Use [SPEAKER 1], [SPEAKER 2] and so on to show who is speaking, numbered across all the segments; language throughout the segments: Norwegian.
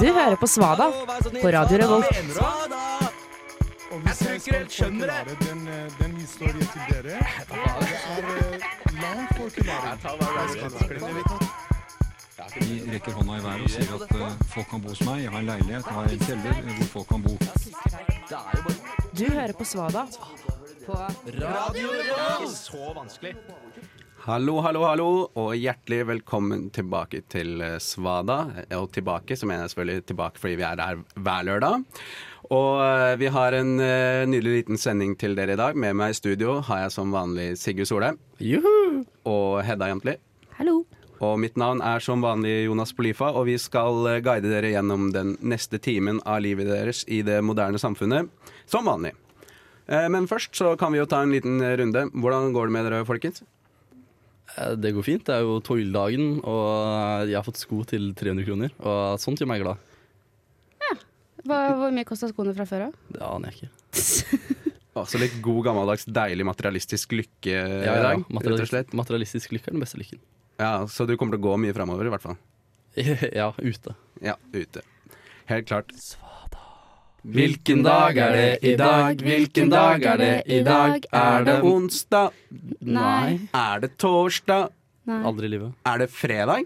[SPEAKER 1] Du hører på Svada på Radio Revolt.
[SPEAKER 2] Og hvis jeg skal forklare den, eh, den historien til dere Det er eh, lang forklaring.
[SPEAKER 3] Vi rekker hånda i været og sier at eh, folk kan bo hos meg. Jeg har en leilighet, jeg har en kjeller eh, hvor folk kan bo.
[SPEAKER 1] Du hører på Svada på
[SPEAKER 4] Hallo, hallo, hallo, og hjertelig velkommen tilbake til eh, Svada. Og tilbake, så mener jeg selvfølgelig tilbake fordi vi er her hver lørdag. Og eh, vi har en eh, nydelig liten sending til dere i dag. Med meg i studio har jeg som vanlig Sigurd Solheim. Og Hedda Jantli.
[SPEAKER 5] Hallo.
[SPEAKER 4] Og mitt navn er som vanlig Jonas Polifa, og vi skal eh, guide dere gjennom den neste timen av livet deres i det moderne samfunnet, som vanlig. Eh, Men først så kan vi jo ta en liten eh, runde. Hvordan går det med dere, folkens?
[SPEAKER 6] Eh, Det går fint. Det er jo toildagen, og eh, jeg har fått sko til 300 kroner. Og sånt gjør meg glad.
[SPEAKER 5] Hva, hvor mye kosta skoene fra før av?
[SPEAKER 6] Det aner jeg ikke.
[SPEAKER 4] Altså litt god, gammeldags, deilig materialistisk lykke eh, i dag, rett og slett.
[SPEAKER 6] Materialistisk, materialistisk lykke er den beste lykken.
[SPEAKER 4] Ja, så du kommer til å gå mye framover, i hvert fall.
[SPEAKER 6] ja, ute.
[SPEAKER 4] Ja, ute. Helt klart.
[SPEAKER 6] Hvilken dag er det i dag? Hvilken dag er det i dag?
[SPEAKER 4] Er det onsdag?
[SPEAKER 5] Nei.
[SPEAKER 4] Er det torsdag?
[SPEAKER 5] Nei.
[SPEAKER 6] Aldri i livet.
[SPEAKER 4] Er det fredag?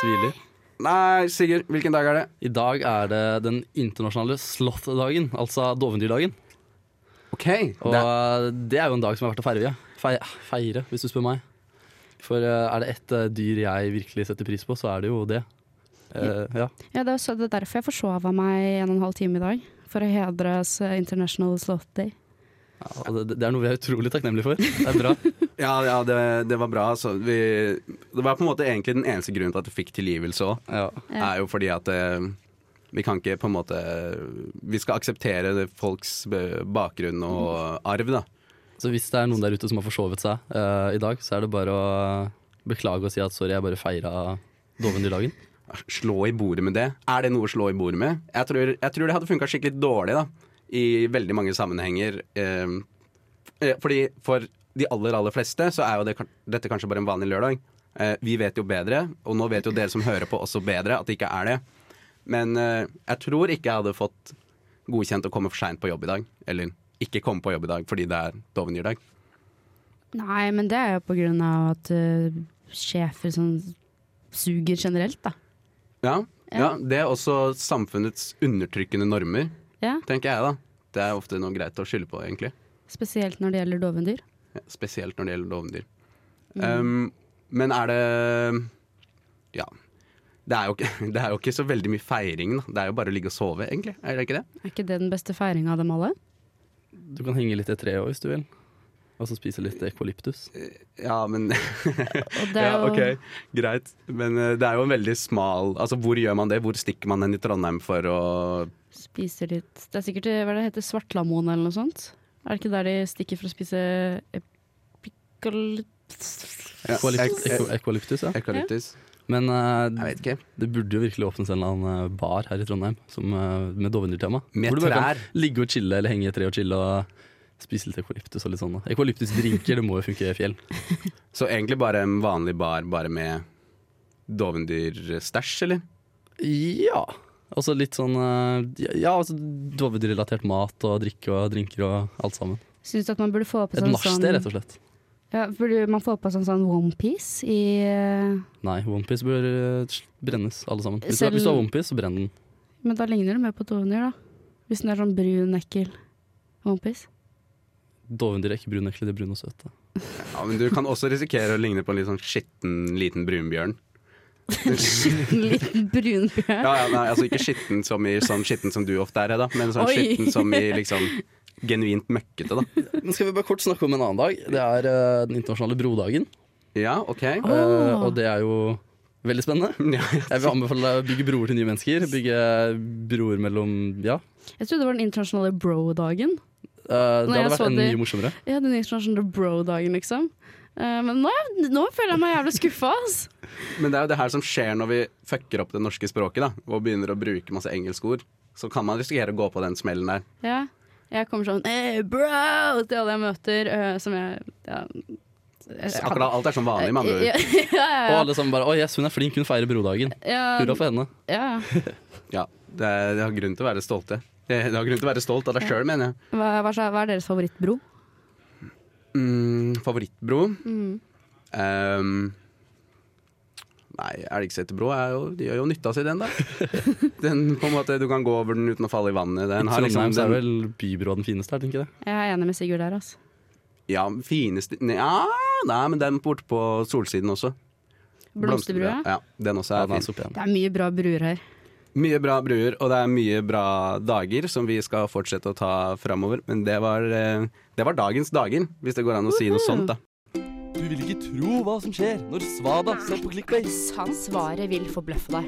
[SPEAKER 6] Tviler.
[SPEAKER 4] Nei, Sigurd, hvilken dag er det?
[SPEAKER 6] I dag er det den internasjonale sloth-dagen, altså dovendyrdagen.
[SPEAKER 4] OK.
[SPEAKER 6] Og
[SPEAKER 4] Det,
[SPEAKER 6] det. er jo en dag som er verdt å feire. Feire, feire hvis du spør meg. For eh, er det ett eh, dyr jeg virkelig setter pris på, så er det jo det. Eh, ja.
[SPEAKER 5] Ja, det er så- det er derfor jeg forsova meg en og en halv time i dag. For å hedre oss eh, International Slot Day.
[SPEAKER 6] Ja, og det, det er noe vi er utrolig takknemlige for. Det er bra.
[SPEAKER 4] ja, ja det, det var bra. Altså. Vi, det var på en måte egentlig den eneste grunnen til at jeg fikk tilgivelse òg.
[SPEAKER 6] Ja.
[SPEAKER 5] Ja.
[SPEAKER 4] Er jo fordi at eh, vi kan ikke på en måte Vi skal akseptere det- folks eh, bakgrunn og arv, da.
[SPEAKER 6] Så hvis det er noen der ute som har forsovet seg eh, i dag, så er det bare å beklage og si at sorry, jeg bare feira dovendyrdagen.
[SPEAKER 4] Slå i bordet med det. Er det noe å slå i bordet med? Jeg tror, jeg tror det hadde funka skikkelig dårlig da i veldig mange sammenhenger. eh, eh, fordi for de aller, aller fleste så er jo det, kan- dette kanskje bare en vanlig lørdag. Eh, vi vet jo bedre, og nå vet jo dere som hører på også bedre at det ikke er det. Men eh, jeg tror ikke jeg hadde fått godkjent å komme for seint på jobb i dag. Eller ikke komme på jobb i dag fordi det er dovendyrdag.
[SPEAKER 5] Nei, men det er jo på grunn av at eh, sjefer sånn suger generelt, da.
[SPEAKER 4] Ja, ja, det er også samfunnets undertrykkende normer,
[SPEAKER 5] Ja,
[SPEAKER 4] tenker jeg da. Det er ofte noe greit å skylde på, egentlig.
[SPEAKER 5] Spesielt når det gjelder dovendyr.
[SPEAKER 4] Ja, spesielt når det gjelder dovendyr.
[SPEAKER 5] Mm.
[SPEAKER 4] Um, men er det Ja. Det er, jo ikke, det er jo ikke så veldig mye feiring. Da. Det er jo bare å ligge og sove, egentlig. Er det ikke det?
[SPEAKER 5] Er ikke det den beste feiringa av dem alle?
[SPEAKER 6] Du kan henge litt i et tre òg hvis du vil. Og så spise litt eukalyptus.
[SPEAKER 4] Ja, men
[SPEAKER 5] Og det er
[SPEAKER 4] ja,
[SPEAKER 5] jo,
[SPEAKER 4] ok, Greit. Men eh, det er jo en veldig smal Altså, hvor gjør man det? Hvor stikker man den i Trondheim for å
[SPEAKER 5] Spiser litt Det er sikkert eh, hva det heter, Svartlamoen eller noe sånt. Er det ikke der de stikker for å spise epikal...
[SPEAKER 4] Ja,
[SPEAKER 6] Eukalypt-
[SPEAKER 4] ek-
[SPEAKER 6] euko- Eukalyptus, ja.
[SPEAKER 4] Eukalyptus?
[SPEAKER 6] Men eh,
[SPEAKER 4] Jeg vet ikke.
[SPEAKER 6] det burde jo virkelig åpnes en eller annen eh, bar her i Trondheim som, eh, med dovendyrtema.
[SPEAKER 4] Med
[SPEAKER 6] Hvor du bare kan
[SPEAKER 4] trær.
[SPEAKER 6] Ligge og chille, eller henge i et tre og chille. Og spise litt eukalyptus og litt sånn. da. Eukalyptusdrinker, det må jo funke i fjell.
[SPEAKER 4] Så egentlig bare en vanlig bar, bare med dovendyrstæsj, eller?
[SPEAKER 6] Ja. Og så litt sånn eh, Ja, altså dovedyrrelatert mat og drikke og drinker og alt sammen.
[SPEAKER 5] Syns du at man burde få på
[SPEAKER 6] Et
[SPEAKER 5] sånn
[SPEAKER 6] nachsted, rett og slett.
[SPEAKER 5] Ja, burde man få på sånn, sånn onepiece i eh,
[SPEAKER 6] Nei, OnePiece bør eh, sl- brennes, alle sammen. Hvis du,
[SPEAKER 5] Selv-
[SPEAKER 6] hvis du har OnePiece, så brenn den.
[SPEAKER 5] Men da ligner det mer på dovendyr, da. Hvis den er sånn brun ekkel onepiece.
[SPEAKER 6] Dovendyr er ikke brun ekle, de er brune og søte.
[SPEAKER 4] Ja, men du kan også risikere å ligne på en litt sånn skitten liten brunbjørn.
[SPEAKER 5] En liten brunbjørn.
[SPEAKER 4] Ja, ja, nei, altså ikke skitten som i sånn skitten som du ofte er, da, men sånn
[SPEAKER 5] Oi.
[SPEAKER 4] skitten som i liksom genuint møkkete, da.
[SPEAKER 6] Nå skal vi bare kort snakke om en annen dag. Det er eh, den internasjonale brodagen.
[SPEAKER 4] Ja, OK.
[SPEAKER 6] Eh, og det er jo veldig spennende.
[SPEAKER 4] Ja, ja.
[SPEAKER 6] Jeg vil anbefale deg å bygge broer til nye mennesker. Bygge broer mellom Ja.
[SPEAKER 5] Jeg trodde det var den internasjonale bro-dagen.
[SPEAKER 6] Eh, det
[SPEAKER 5] jeg
[SPEAKER 6] hadde vært
[SPEAKER 5] så
[SPEAKER 6] enda
[SPEAKER 5] det-
[SPEAKER 6] mye morsommere.
[SPEAKER 5] Ja, den internasjonale bro-dagen, liksom. Eh, men nå, er jeg- nå føler jeg meg jævlig skuffa, ass.
[SPEAKER 4] Men det er jo det her som skjer når vi fucker opp det norske språket, da, og begynner å bruke masse engelskord. Så kan man risikere å gå på den smellen der.
[SPEAKER 5] Ja. Jeg kommer sånn hey, bro! til alle jeg møter, eh, som jeg ja,
[SPEAKER 4] Akkurat alt er som vanlig, med andre
[SPEAKER 5] Ja,
[SPEAKER 4] ord.
[SPEAKER 5] ja,
[SPEAKER 6] Og
[SPEAKER 5] ja,
[SPEAKER 6] alle sammen bare 'Å yes, hun er flink, hun feirer brodagen'. Hurra
[SPEAKER 5] ja.
[SPEAKER 6] for henne.
[SPEAKER 5] ja.
[SPEAKER 4] Ja, det, er, det har grunn til å være stolte. Det, det har grunn til å være stolt av deg sjøl, mener jeg.
[SPEAKER 5] Hva, hva, er- hva er deres favorittbro?
[SPEAKER 4] Mm, favorittbro Ehm, Nei, Elgseterbro er jo, de gjør jo nytta si, den, da. Den på en måte, Du kan gå over den uten å falle i vannet.
[SPEAKER 6] I
[SPEAKER 4] Den har liksom
[SPEAKER 6] Trondheim så er
[SPEAKER 4] den
[SPEAKER 6] vel Bybroa den fineste her, tenker jeg.
[SPEAKER 5] Jeg er enig med Sigurd der, altså.
[SPEAKER 4] ja, fineste Ja, nei, men den borte på solsiden også.
[SPEAKER 5] Blomsterbrua.
[SPEAKER 4] Ja, den også
[SPEAKER 6] Ja,
[SPEAKER 4] er
[SPEAKER 6] den er
[SPEAKER 4] fin.
[SPEAKER 6] så pen.
[SPEAKER 5] Det er mye bra bruer her.
[SPEAKER 4] Mye bra bruer, og det er mye bra dager som vi skal fortsette å ta framover. Men det var, eh, det var dagens dager, hvis det går an å si noe sånt, da.
[SPEAKER 6] Du vil ikke tro hva som skjer når Svada ser på Clickbase.
[SPEAKER 7] Svaret vil forbløffe deg.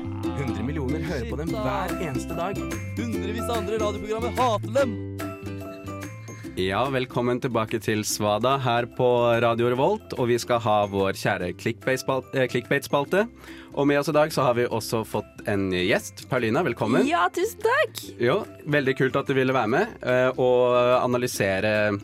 [SPEAKER 8] 100 millioner hører på dem hver eneste dag.
[SPEAKER 6] Hundrevis av andre radioprogrammer hater dem.
[SPEAKER 4] Ja, velkommen tilbake til Svada her på Radio Revolt, og vi skal ha vår kjære clickbait-spal- eh, clickbait-spalte. Og med oss i dag så har vi også fått en gjest. Paulina, velkommen.
[SPEAKER 7] Ja, tusen takk!
[SPEAKER 4] Jo, veldig kult at du ville være med eh, og analysere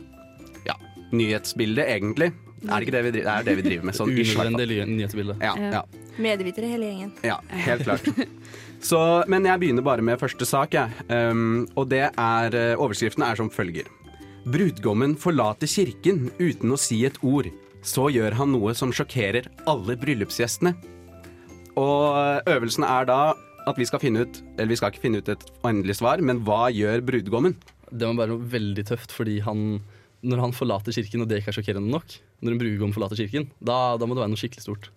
[SPEAKER 4] ja, nyhetsbildet, egentlig. Er det ikke det vi driver, det er det vi driver med? Sånn i slagfart.
[SPEAKER 6] Unødvendig ly- nyhetsbilde.
[SPEAKER 4] Ja, ja.
[SPEAKER 7] Medvitere hele gjengen.
[SPEAKER 4] Ja, helt klart. Så, men jeg begynner bare med første sak, jeg. Ehm, og det er eh, Overskriften er som følger. Brudgommen forlater kirken uten å si et ord. Så gjør han noe som sjokkerer alle bryllupsgjestene. Og eh, øvelsen er da at vi skal finne ut Eller vi skal ikke finne ut et endelig svar, men hva gjør brudgommen?
[SPEAKER 6] Det må være noe veldig tøft, fordi han når han forlater kirken, og det ikke er sjokkerende nok Når en brudgom forlater kirken, da, da må det være noe skikkelig stort.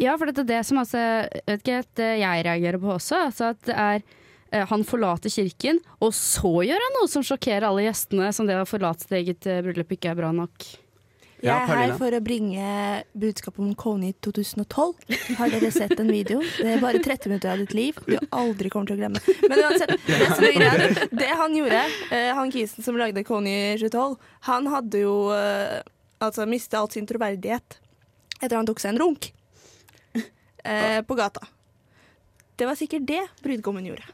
[SPEAKER 5] Ja, for dette er det som altså, jeg vet ikke, at eh, jeg reagerer på også. Altså at det er eh, han forlater kirken, og så gjør han noe som sjokkerer alle gjestene, som det å forlate sitt eget eh, bryllup ikke er bra nok.
[SPEAKER 4] Ja,
[SPEAKER 7] Jeg er her
[SPEAKER 4] Paulina.
[SPEAKER 7] for å bringe budskapet om Kony 2012. Har dere sett den videoen? Det er bare 30 minutter av ditt liv du aldri kommer til å glemme. Men uansett, det som er greia, det han gjorde, eh, han kisen som lagde Kony 2012, han hadde jo eh, altså mista all sin troverdighet etter han tok seg en runk eh, på gata. Det var sikkert det brudgommen gjorde.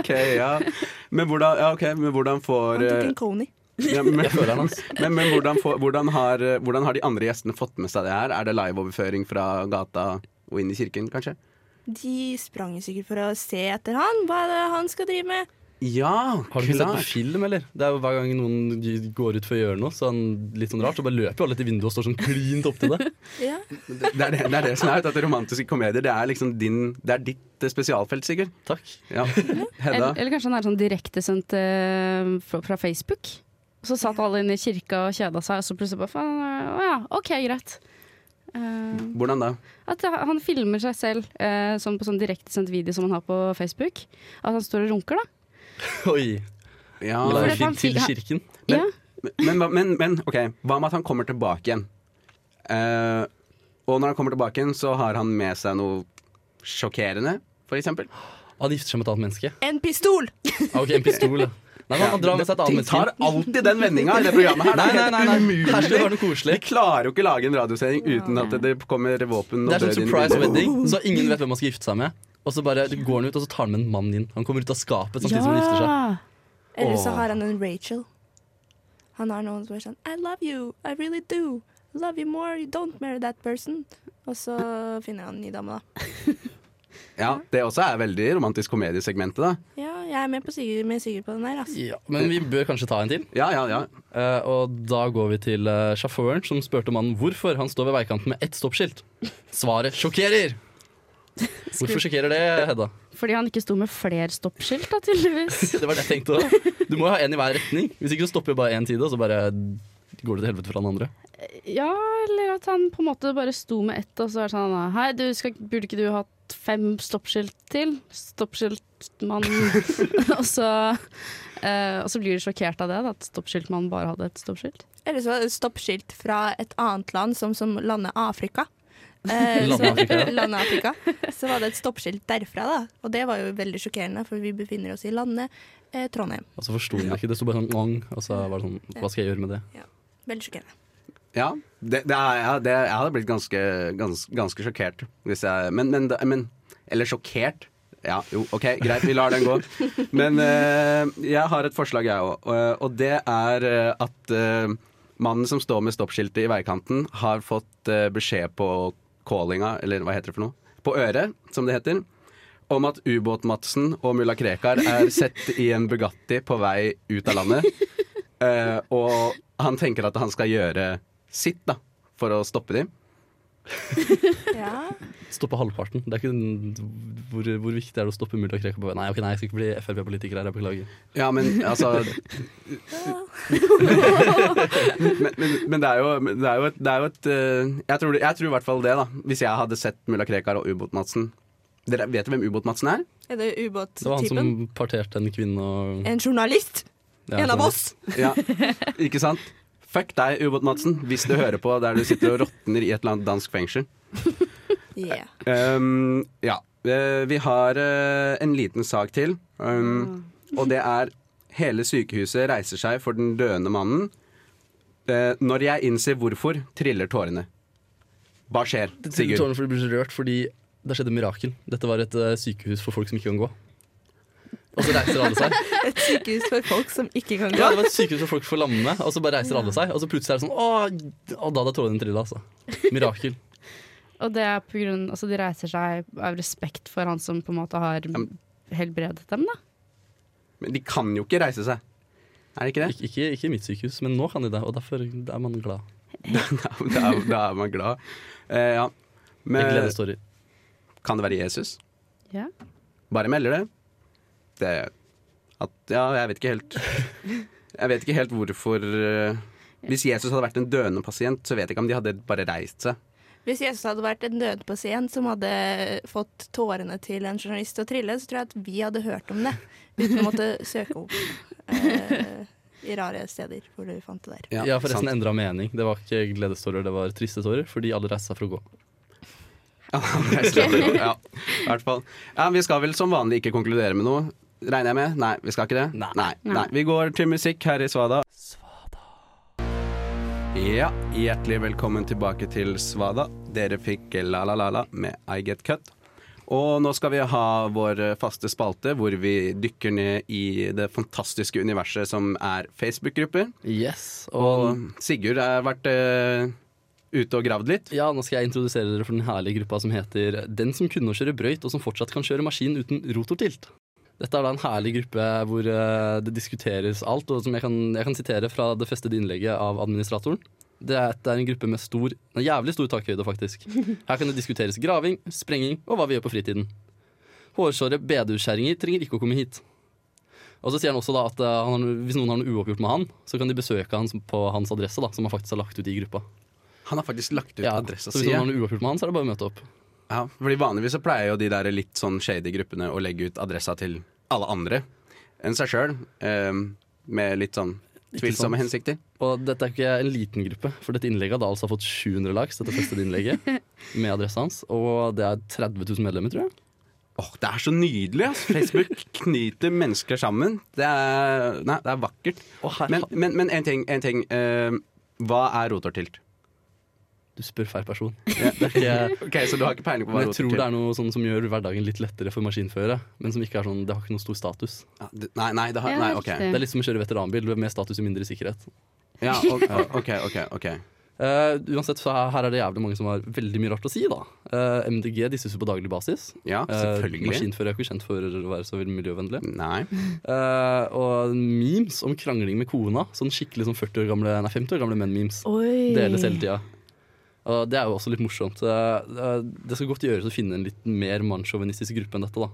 [SPEAKER 4] Ok, ja. Men hvordan, ja, ok, men hvordan får
[SPEAKER 7] Han tok
[SPEAKER 4] eh,
[SPEAKER 7] en Kony.
[SPEAKER 4] Ja, men,
[SPEAKER 6] føler han, ass.
[SPEAKER 4] men, men hvordan, får- hvordan, har, hvordan har de andre gjestene fått med seg det her? Er det liveoverføring fra gata og inn i kirken, kanskje?
[SPEAKER 7] De sprang jo sikkert for å se etter han, hva er det han skal drive med.
[SPEAKER 4] Ja,
[SPEAKER 6] Har du ikke sett på
[SPEAKER 4] klart!
[SPEAKER 6] film, eller? Det er jo Hver gang noen g- går ut for å gjøre noe sånn, litt sånn rart, så bare løper jo alle til vinduet og står sånn klint opptil det.
[SPEAKER 7] Ja.
[SPEAKER 4] Det er det, det er det som er ut, at romantiske komedier det er liksom din Det er ditt eh, spesialfelt, Sigurd.
[SPEAKER 6] Takk.
[SPEAKER 4] Ja. Hedda?
[SPEAKER 5] Eller, eller kanskje han er sånn direktesendt eh, fra, fra Facebook. Og så satt alle inne i kirka og kjeda seg, og så plutselig bare faen, eh, å ja, OK, greit. Eh,
[SPEAKER 4] Hvordan da?
[SPEAKER 5] At det- han filmer seg selv eh, sånn på sånn direktesendt video som han har på Facebook. At han står og runker, da.
[SPEAKER 6] Oi.
[SPEAKER 4] Ja,
[SPEAKER 5] for det-
[SPEAKER 6] Live
[SPEAKER 5] han
[SPEAKER 6] til
[SPEAKER 5] fikk-
[SPEAKER 6] kirken.
[SPEAKER 4] Men-
[SPEAKER 5] ja.
[SPEAKER 4] men, hva- men, men OK, hva med at han kommer tilbake igjen? Eh, og når han kommer tilbake igjen, så har han med seg noe sjokkerende, for eksempel.
[SPEAKER 6] Han gifter seg med et annet menneske.
[SPEAKER 7] En pistol!
[SPEAKER 6] Ah, ok, en pistol. ja. Nei, men han drar med seg et
[SPEAKER 4] Ting
[SPEAKER 6] annet
[SPEAKER 4] tar
[SPEAKER 6] menneske.
[SPEAKER 4] alltid den vendinga i det programmet her. Det
[SPEAKER 6] Nei,
[SPEAKER 4] er
[SPEAKER 6] nei,
[SPEAKER 4] helt
[SPEAKER 6] nei, nei.
[SPEAKER 4] umulig.
[SPEAKER 6] Her skal det være noe koselig.
[SPEAKER 4] De klarer jo ikke lage en radiosending uten at det kommer våpen og
[SPEAKER 6] Det er sånn
[SPEAKER 4] død inn i
[SPEAKER 6] surprise
[SPEAKER 4] bildet.
[SPEAKER 6] wedding, så ingen vet hvem han skal gifte seg med. Og så bare går han ut, og så tar han med en mann inn. Han kommer ut av skapet samtidig som han gifter seg.
[SPEAKER 7] Eller så
[SPEAKER 6] Åh.
[SPEAKER 7] har han en Rachel. Han har noen som er sånn I love you, I really do. Love you more, you don't marry that person. Og så finner han en ny dame, da.
[SPEAKER 4] Ja, Det også er veldig romantisk komediesegmentet, da.
[SPEAKER 7] Ja, jeg er med, på Sigurd, med Sigurd på den her, altså.
[SPEAKER 6] Ja, men vi bør kanskje ta en til.
[SPEAKER 4] Ja, ja, ja.
[SPEAKER 6] Eh, og da går vi til eh, sjåføren som spurte mannen hvorfor han står ved veikanten med ett stoppskilt. Svaret sjokkerer! Hvorfor sjokkerer det, Hedda?
[SPEAKER 5] Fordi han ikke sto med flere stoppskilt, da, tydeligvis.
[SPEAKER 6] Det var det jeg tenkte òg. Du må jo ha én i hver retning. Hvis ikke så stopper jo bare én side, og så bare går det til helvete for han andre.
[SPEAKER 5] Ja, eller at han på en måte bare sto med ett, og så var det sånn Hei, du skal, burde ikke du hatt fem stoppskilt til? Stoppskiltmann. og, så, eh, og så blir de sjokkert av det, da, at stoppskiltmannen bare hadde et stoppskilt.
[SPEAKER 7] Eller så stoppskilt fra et annet land, som, som landet Afrika. Eh,
[SPEAKER 6] Landet
[SPEAKER 7] så-
[SPEAKER 6] Afrika, ja.
[SPEAKER 7] landet Afrika. Så var det et stoppskilt derfra, da. Og det var jo veldig sjokkerende, for vi befinner oss i landet eh, Trondheim.
[SPEAKER 6] Og så forsto han ikke. Det sto bare sånn «Ong», og så var det sånn Hva skal jeg gjøre med det?
[SPEAKER 7] Veldig sjokkerende.
[SPEAKER 4] ja. Det, det er, ja det, jeg hadde blitt ganske, ganske, ganske sjokkert hvis jeg men, men, men Eller sjokkert. Ja, jo, OK, greit, vi lar den gå. Men eh, jeg har et forslag, jeg òg. Og det er eh, at eh, Mannen som står med stoppskiltet i veikanten, har fått eh, beskjed på callinga, eller hva heter det for noe, på øret, som det heter, om at Ubåt-Madsen og mulla Krekar er sett i en Bugatti på vei ut av landet. Eh, og han tenker at han skal gjøre sitt da, for å stoppe dem.
[SPEAKER 7] Ja.
[SPEAKER 6] Stoppe halvparten. Det er ikke den- hvor, hvor viktig er det å stoppe mulla Krekar på veien? Nei, ok, nei, jeg skal ikke bli Frp-politiker her, jeg beklager.
[SPEAKER 4] Ja, men altså men, men, men det er jo, men det er jo et, det er jo et eh, jeg, tror, det- jeg tror i hvert fall det, da. Hvis jeg hadde sett Mulla Krekar og Ubåt-Madsen. Dere vet hvem Ubåt-Madsen er?
[SPEAKER 7] Er det
[SPEAKER 6] Det var han
[SPEAKER 7] ubåttypen?
[SPEAKER 6] som parterte en kvinne og
[SPEAKER 7] En journalist?
[SPEAKER 6] Ja,
[SPEAKER 7] en av
[SPEAKER 6] sånn.
[SPEAKER 7] oss?
[SPEAKER 4] Ja, ikke sant? Fuck deg, Ubåt-Madsen, hvis du hører på der du sitter og råtner i et eller annet dansk fengsel.
[SPEAKER 7] Yeah.
[SPEAKER 4] Um, ja. Eh, Vi har eh, en liten sak til.
[SPEAKER 6] Mm.
[SPEAKER 4] Um, og det er Hele sykehuset reiser seg for den døende mannen. Eh, når jeg innser hvorfor, triller tårene. Hva skjer,
[SPEAKER 6] Det triller
[SPEAKER 4] Sigurd?
[SPEAKER 6] tårene fordi du blir så rørt, fordi det skjedde et mirakel. Dette var et eh, sykehus for folk som ikke kan gå. Og så reiser alle seg.
[SPEAKER 7] Et sykehus for folk som ikke kan
[SPEAKER 6] Ja,
[SPEAKER 7] gå.
[SPEAKER 6] det var et sykehus for folk for lamme, og så bare reiser alle seg. Og så plutselig er det sånn Å, og da hadde tårene trilla, altså. Mirakel.
[SPEAKER 5] Og det er på grunn Altså, de reiser seg av respekt for han som på en måte har
[SPEAKER 4] men-
[SPEAKER 5] helbredet dem, da.
[SPEAKER 4] Men de kan jo ikke reise seg. Er det ikke det?
[SPEAKER 6] Ik ikke, ikke i mitt sykehus, men nå kan de det, og derfor er man glad.
[SPEAKER 4] Da, er- da er man glad. Eh, ja.
[SPEAKER 6] Jeg
[SPEAKER 4] Men
[SPEAKER 6] gleder story.
[SPEAKER 4] kan det være Jesus?
[SPEAKER 5] Ja.
[SPEAKER 4] Bare melder det. Det at, Ja, jeg vet ikke helt Jeg vet ikke helt hvorfor eh, Hvis Jesus hadde vært en døende pasient, så vet jeg ikke om de hadde bare reist seg.
[SPEAKER 7] Hvis Jesus hadde vært en død pasient som hadde fått tårene til en journalist å trille, så tror jeg at vi hadde hørt om det. Uten å måtte søke opp eh, i rare steder hvor du fant det der.
[SPEAKER 6] Jeg har forresten endra mening. Det var ikke gledestårer, det var triste tårer, fordi alle reiste seg for å gå.
[SPEAKER 4] Ja, jeg slår det på. ja, i hvert fall. Ja, vi skal vel som vanlig ikke konkludere med noe, regner jeg med? Nei, vi skal ikke det?
[SPEAKER 6] Nei.
[SPEAKER 4] Nei. Nei. Vi går til musikk her i Svada. Ja, hjertelig velkommen tilbake til Svada. Dere fikk La La La La med I Get Cut. Og nå skal vi ha vår faste spalte hvor vi dykker ned i det fantastiske universet som er Facebook-grupper.
[SPEAKER 6] Yes, og
[SPEAKER 4] Og Sigurd har vært eh, ute og gravd litt.
[SPEAKER 6] ja, nå skal jeg introdusere dere for den herlige gruppa som heter Den som kunne å kjøre brøyt, og som fortsatt kan kjøre maskin uten rotortilt. Dette er da en herlig gruppe hvor eh, det diskuteres alt, og som jeg kan, jeg kan sitere fra det festede innlegget av administratoren. Det er, det er en gruppe med stor, nei, jævlig stor takhøyde, faktisk. Her kan det diskuteres graving, sprenging og hva vi gjør på fritiden. Hårsåre bedehuskjerringer trenger ikke å komme hit. Og så sier han også da at eh, han, har- hvis noen har noe uoppgjort med han, så kan de besøke han som- på hans adresse, da, som han faktisk har lagt ut i gruppa.
[SPEAKER 4] Han har faktisk lagt ut
[SPEAKER 6] Ja,
[SPEAKER 4] adressa
[SPEAKER 6] så hvis
[SPEAKER 4] si.
[SPEAKER 6] noen har noe uoppgjort med han, så er det bare å møte opp.
[SPEAKER 4] Ja, fordi vanligvis så pleier jo de der litt sånn shady gruppene å legge ut adressa til alle andre enn seg sjøl, med litt sånn tvilsomme
[SPEAKER 6] sant.
[SPEAKER 4] hensikter.
[SPEAKER 6] Og dette er ikke en liten gruppe, for dette innlegget hadde altså fått 700 likes, dette festede innlegget, med adressa hans. Og det er 30 000 medlemmer, tror jeg.
[SPEAKER 4] Åh, det er så nydelig! ass. Facebook knyter mennesker sammen. Det er, nei, det er vakkert.
[SPEAKER 6] Og her,
[SPEAKER 4] Men, men, men en ting. En ting eh, hva er rotortilt?
[SPEAKER 6] Du spør feil person. Det er ikke,
[SPEAKER 4] Ok, Så du har ikke peiling på hva
[SPEAKER 6] men jeg tror
[SPEAKER 4] rotortilt
[SPEAKER 6] det er noe sånn som gjør hverdagen litt lettere for maskinførere, men som ikke er sånn, det har ikke noe stor status.
[SPEAKER 4] Ja, det- Nei, nei, det har,
[SPEAKER 5] Ja,
[SPEAKER 4] nei ok.
[SPEAKER 5] riktig.
[SPEAKER 6] Det er litt som å kjøre veteranbil, med status og mindre sikkerhet.
[SPEAKER 4] Ja, ok, ok, ok, ok.
[SPEAKER 6] Eh, uansett, så her- her er det jævlig mange som har veldig mye rart å si, da. Eh, MDG disses jo på daglig basis.
[SPEAKER 4] Ja,
[SPEAKER 6] Eh,
[SPEAKER 4] selvfølgelig.
[SPEAKER 6] maskinførere er jo ikke kjent for å være så veldig miljøvennlige.
[SPEAKER 4] Nei.
[SPEAKER 6] Eh, og memes om krangling med kona. Sånn skikkelig sånn 40 år gamle, nei, 50 år gamle menn-memes.
[SPEAKER 5] Oi.
[SPEAKER 6] Deles hele tida. Og det er jo også litt morsomt. Eh, eh, det skal godt gjøres å finne en litt mer mannssjåvinistisk gruppe enn dette, da.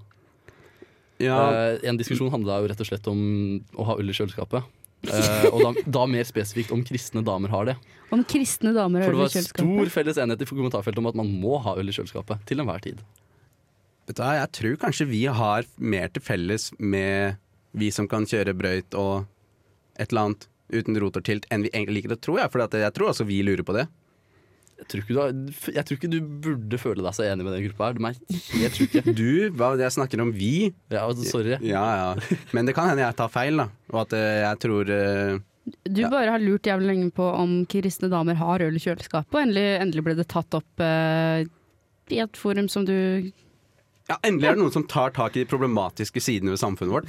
[SPEAKER 4] Ja,
[SPEAKER 6] Eh, en diskusjon handla jo rett og slett om å ha øl i kjøleskapet. Eh, og da, da mer spesifikt om kristne damer har det.
[SPEAKER 5] Om kristne damer
[SPEAKER 6] For det
[SPEAKER 5] og øl i
[SPEAKER 6] var stor
[SPEAKER 5] kjøleskapet.
[SPEAKER 6] felles enighet i kommentarfeltet om at man må ha øl i kjøleskapet til enhver tid.
[SPEAKER 4] Vet du hva, jeg tror kanskje vi har mer til felles med vi som kan kjøre brøyt og et eller annet uten rotortilt, enn vi egentlig liker. Det tror jeg, for jeg tror også vi lurer på det.
[SPEAKER 6] Jeg tror ikke du, har, jeg tror ikke du burde føle deg så enig med den gruppa her. De er helt sjuke.
[SPEAKER 4] Du, hva jeg snakker om vi?
[SPEAKER 6] Ja, altså, sorry.
[SPEAKER 4] Ja, ja. Men det kan hende jeg tar feil, da. Og at eh, jeg tror eh,
[SPEAKER 5] Du
[SPEAKER 4] Ja.
[SPEAKER 5] bare har lurt jævlig lenge på om kristne damer har øl i kjøleskapet, og endelig, endelig ble det tatt opp eh, i et forum som du
[SPEAKER 4] Ja, endelig er det noen som tar tak i de problematiske sidene ved samfunnet vårt.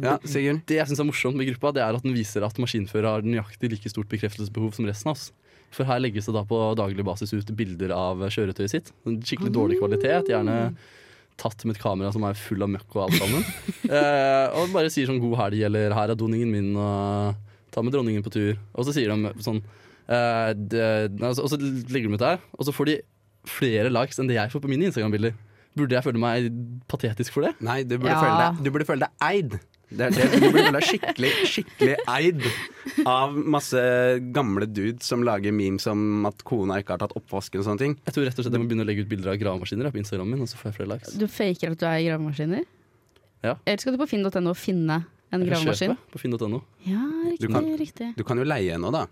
[SPEAKER 4] Ja, Sigurd?
[SPEAKER 6] Det jeg syns er morsomt med gruppa, det er at den viser at maskinfører har nøyaktig like stort bekreftelsesbehov som resten av oss. For her legges det da på daglig basis ut bilder av kjøretøyet sitt. En Skikkelig dårlig kvalitet. Gjerne tatt med et kamera som er full av møkk og alt sammen. eh, og bare sier sånn 'god helg', eller 'her er doningen min', og 'ta med dronningen på tur'. Og så sier de sånn eh, det, nei, Og så legger de ut det her, og så får de flere likes enn det jeg får på mine Instagram-bilder. Burde jeg føle meg patetisk for det?
[SPEAKER 4] Nei, du burde,
[SPEAKER 5] Ja.
[SPEAKER 4] føle, deg, du burde føle deg eid. Det er det, du burde føle deg skikkelig, skikkelig eid av masse gamle dudes som lager memes om at kona ikke har tatt oppvasken og sånne ting.
[SPEAKER 6] Jeg tror rett og slett jeg må begynne å legge ut bilder av gravemaskiner jeg, på Instagram min, og så får jeg flere likes.
[SPEAKER 5] Du faker at du er i gravemaskiner?
[SPEAKER 6] Ja.
[SPEAKER 5] Eller skal du på finn.no og finne en
[SPEAKER 6] Jeg kan kjøpe
[SPEAKER 5] gravemaskin?
[SPEAKER 6] På finn.no.
[SPEAKER 5] Ja,
[SPEAKER 4] Du
[SPEAKER 5] riktig.
[SPEAKER 4] kan-
[SPEAKER 5] riktig.
[SPEAKER 4] Du kan jo leie henne òg, da.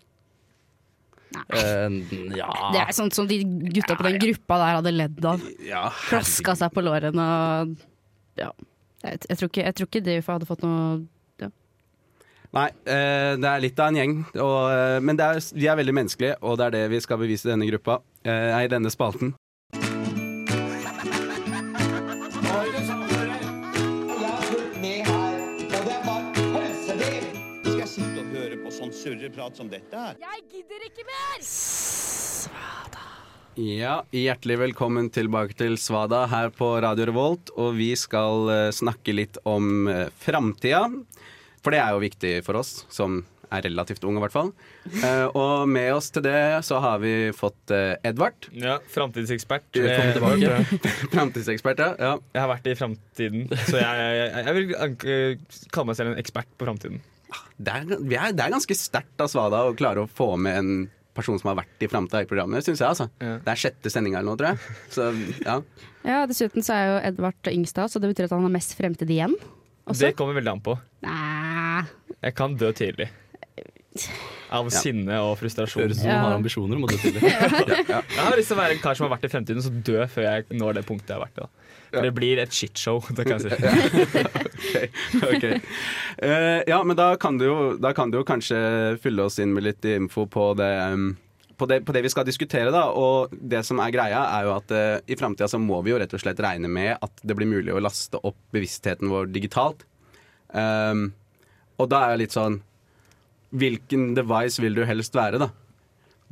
[SPEAKER 6] Eh, ja
[SPEAKER 4] Ah.
[SPEAKER 5] Det er sånt som de gutta på den gruppa der hadde ledd av.
[SPEAKER 4] Ja,
[SPEAKER 5] Klaska seg på lårene og Ja. Jeg, jeg, tror ikke, jeg tror ikke det UFA hadde fått noe
[SPEAKER 4] Nei, eh, det er litt av en gjeng. Og, eh, men det er, vi er veldig menneskelige, og det er det vi skal bevise i denne gruppa. Eh, nei, i denne spalten. Ja, hjertelig velkommen tilbake til Svada her på Radio Revolt. Og vi skal eh, snakke litt om eh, framtida. For det er jo viktig for oss, som er relativt unge i hvert fall. Eh, og med oss til det så har vi fått eh, Edvard.
[SPEAKER 9] Ja, framtidsekspert.
[SPEAKER 4] Du kommer
[SPEAKER 9] Eh,
[SPEAKER 4] tilbake.
[SPEAKER 9] jeg-
[SPEAKER 4] Framtidsekspert, ja. ja.
[SPEAKER 9] Jeg har vært i framtiden, så jeg, jeg, jeg vil eh, kalle meg selv en ekspert på framtiden.
[SPEAKER 4] Det er, vi er, det er ganske sterkt av Svada å klare å få med en person som har vært i framtida i programmet, syns jeg. altså.
[SPEAKER 9] Ja.
[SPEAKER 4] Det er sjette sendinga eller noe, tror jeg. Så ja.
[SPEAKER 5] Ja, dessuten så er jo Edvard yngst av, så det betyr at han har mest fremtid igjen. Også?
[SPEAKER 9] Det kommer veldig an på.
[SPEAKER 5] Nei.
[SPEAKER 9] Jeg kan dø tidlig. Av sinne og frustrasjon.
[SPEAKER 6] Høres ut som man
[SPEAKER 5] Ja.
[SPEAKER 6] har ambisjoner om å dø tidlig.
[SPEAKER 9] Jeg har lyst til å være en kar som har vært i fremtiden, så dø før jeg når det punktet jeg har vært i. da. For det blir et shitshow. det kan jeg si.
[SPEAKER 4] Ok. Eh, ja, men da kan, du jo, da kan du jo kanskje fylle oss inn med litt info på det, em, på det, på det vi skal diskutere. da, Og det som er greia, er jo at eh, i framtida så må vi jo rett og slett regne med at det blir mulig å laste opp bevisstheten vår digitalt. Em, og da er jeg litt sånn Hvilken device vil du helst være, da?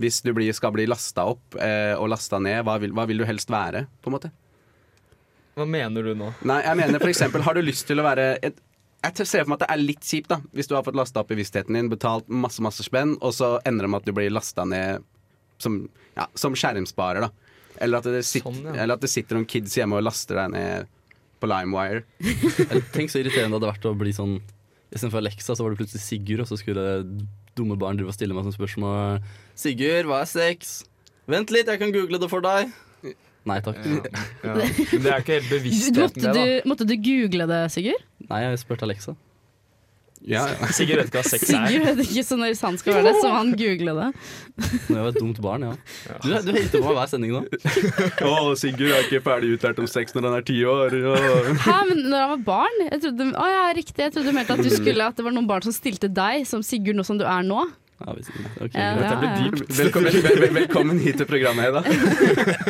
[SPEAKER 4] Hvis du blir, skal bli lasta opp eh, og lasta ned, hva vil, hva vil du helst være? på en måte?
[SPEAKER 9] Hva mener du nå?
[SPEAKER 4] Nei, jeg mener for eksempel Har du lyst til å være et, Jeg ser for meg at det er litt kjipt da Hvis du har fått lastet opp bevisstheten din Betalt masse, masse spenn Og så ender det med at du blir lastet ned Som, ja, som skjermsparer da eller at, det sitter,
[SPEAKER 9] Sånn, ja.
[SPEAKER 4] eller at det sitter noen kids hjemme og laster deg ned På LimeWire
[SPEAKER 6] Tenk så irriterende det hadde vært å bli sånn Istedenfor Alexa, så var det plutselig Sigurd, og så skulle dumme barn drive og stille meg som spørsmål Sigurd, hva er sex? Vent litt, jeg kan google det for deg. Nei takk.
[SPEAKER 9] Ja. Men Det er ikke helt
[SPEAKER 5] Du,
[SPEAKER 9] bevisstheten,
[SPEAKER 5] måtte,
[SPEAKER 9] det.
[SPEAKER 5] du, måtte du google det, Sigurd?
[SPEAKER 6] Nei, jeg spurte Alexa.
[SPEAKER 4] ja, ja.
[SPEAKER 9] da. Sigurd vet ikke hva sex er.
[SPEAKER 5] Sigurd vet ikke så når han skal være det, så han googlet det.
[SPEAKER 6] Når jeg var et dumt barn, ja. Du, du hater på meg hver sending nå.
[SPEAKER 4] Å, Sigurd er ikke ferdig utlært om sex når han er 10 år
[SPEAKER 5] Hæ, men når han var barn? Jeg trodde, å, ja, riktig, jeg trodde du mente at, du skulle, at det var noen barn som stilte deg som Sigurd nå som du er nå.
[SPEAKER 6] Ja, hvis ikke. Ok,
[SPEAKER 5] Ja,
[SPEAKER 6] greit.
[SPEAKER 5] ja, ja.
[SPEAKER 4] velkommen, vel, vel, velkommen hit til programmet Hedda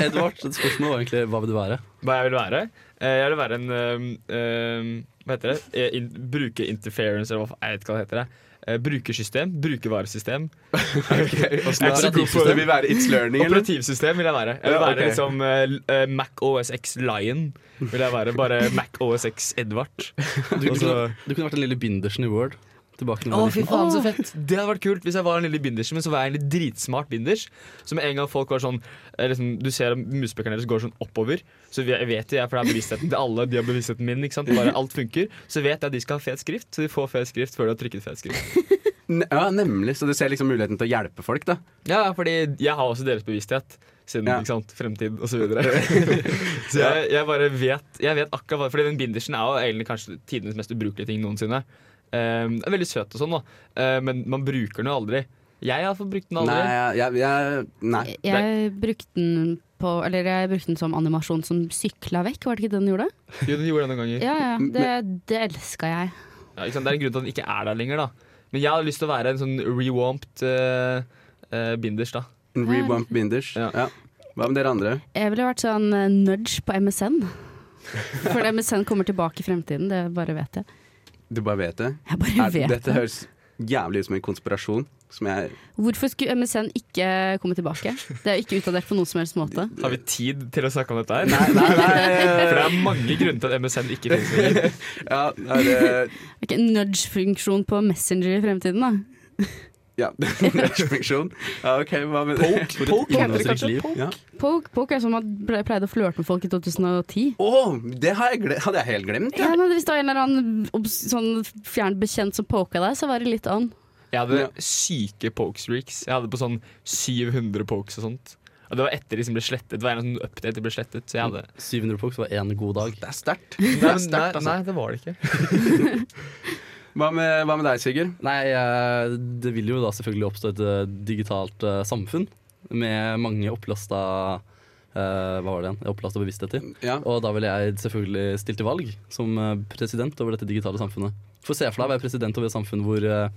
[SPEAKER 6] Edvard, et spørsmål var egentlig hva vil du være?
[SPEAKER 9] Hva jeg vil være? Eh, Jeg vil være en øhm, øhm, Hva heter det? Eh, In bruke interference, eller hva f- jeg vet ikke hva det heter. jeg. Eh, Brukersystem. Brukervaresystem.
[SPEAKER 4] Det vil være It's Learning eller?
[SPEAKER 9] Operativsystem vil jeg være. Jeg vil
[SPEAKER 4] Ja,
[SPEAKER 9] være
[SPEAKER 4] ok.
[SPEAKER 9] liksom eh, l- eh, Mac OSX Lion. Vil jeg være Bare Mac OSX Edvard.
[SPEAKER 6] Du, du,
[SPEAKER 9] Og
[SPEAKER 6] kunne,
[SPEAKER 9] så-
[SPEAKER 6] du kunne vært den lille bindersen i Word. Tilbake når du var liten.
[SPEAKER 9] faen, så fett liksom. Det hadde vært kult hvis jeg var en lille binders, men så var jeg en litt dritsmart binders. Så med en gang folk var sånn eh, liksom, Du ser at muspekerne deres går sånn oppover, så vi- jeg vet jo jeg, for det er bevisstheten til alle, de har bevisstheten min, ikke sant. Bare alt funker. Så vet jeg at de skal ha fet skrift, så de får fet skrift før de har trykket fet skrift.
[SPEAKER 4] Ne- Ja, nemlig, så du ser liksom muligheten til å hjelpe folk da
[SPEAKER 9] Ja, ja, fordi jeg har også deres bevissthet. Siden
[SPEAKER 4] Ja.
[SPEAKER 9] ikke sant, fremtid osv. Så, videre. så jeg, jeg bare vet Jeg vet akkurat hva Fordi den bindersen er jo egentlig kanskje tidenes mest ubrukelige ting noensinne. Um, den er veldig søt og sånn, da, Eh, men man bruker den jo aldri. Jeg har fått brukt den aldri.
[SPEAKER 4] Nei, jeg, jeg, nei
[SPEAKER 5] Jeg brukte den på, eller jeg brukte den som animasjon som sykla vekk, var det ikke det den gjorde?
[SPEAKER 9] Jo, den gjorde det noen ganger.
[SPEAKER 5] Ja, ja, det, det elska jeg.
[SPEAKER 9] Ja, ikke sant? Det er en grunn til at den ikke er der lenger. da Men jeg har lyst til å være en sånn rewomped eh, eh, binders. da
[SPEAKER 4] En rewamp binders. Ja.
[SPEAKER 9] Ja.
[SPEAKER 4] Hva med dere andre?
[SPEAKER 5] Jeg ville vært sånn eh, nudge på MSN. For MSN kommer tilbake i fremtiden, det bare vet jeg.
[SPEAKER 4] Du bare vet det?
[SPEAKER 5] Jeg bare
[SPEAKER 4] Er,
[SPEAKER 5] vet
[SPEAKER 4] dette
[SPEAKER 5] det.
[SPEAKER 4] høres jævlig ut som en konspirasjon. Som jeg
[SPEAKER 5] Hvorfor skulle MSN ikke komme tilbake? Det er jo ikke utdatert på noen som helst måte.
[SPEAKER 9] Har vi tid til å snakke om dette her?
[SPEAKER 4] nei,
[SPEAKER 9] For det er mange grunner til at MSN ikke finnes lenger.
[SPEAKER 4] Ja, nei, det eh,
[SPEAKER 5] Ok, Nudge-funksjon på Messenger i fremtiden, da.
[SPEAKER 4] Ja, Nudge-funksjon. Ja, OK, hva med det?
[SPEAKER 9] Poke heter det
[SPEAKER 6] Innholdsrikt
[SPEAKER 9] kanskje?
[SPEAKER 6] liv.
[SPEAKER 4] Ja.
[SPEAKER 5] Poke, poke er som man ble- pleide å flørte med folk i 2010.
[SPEAKER 4] Å, det har jeg gle hadde jeg helt glemt.
[SPEAKER 5] Ja, men Hvis det var en eller annen obs- sånn fjern bekjent som poka deg, så var det litt an.
[SPEAKER 9] Jeg hadde syke pokestreaks. Jeg hadde på sånn 700 pokes og sånt. Og det var etter de som ble slettet. Det var en sånn update de ble slettet. Så jeg hadde
[SPEAKER 6] 700 pokes var én god dag.
[SPEAKER 4] Det er sterkt.
[SPEAKER 9] Mm. Nei,
[SPEAKER 4] Det er
[SPEAKER 9] men- nei,
[SPEAKER 4] sterkt, altså.
[SPEAKER 9] nei, det var det ikke.
[SPEAKER 4] Hva, med- hva med deg, Sigurd?
[SPEAKER 6] Nei, eh, det vil jo da selvfølgelig oppstå et eh, digitalt eh, samfunn med mange opplasta eh, Hva var det igjen? Opplasta bevisstheter.
[SPEAKER 4] Ja.
[SPEAKER 6] Og da ville jeg selvfølgelig stilt til valg som eh, president over dette digitale samfunnet. For se for deg å være president over et samfunn hvor eh,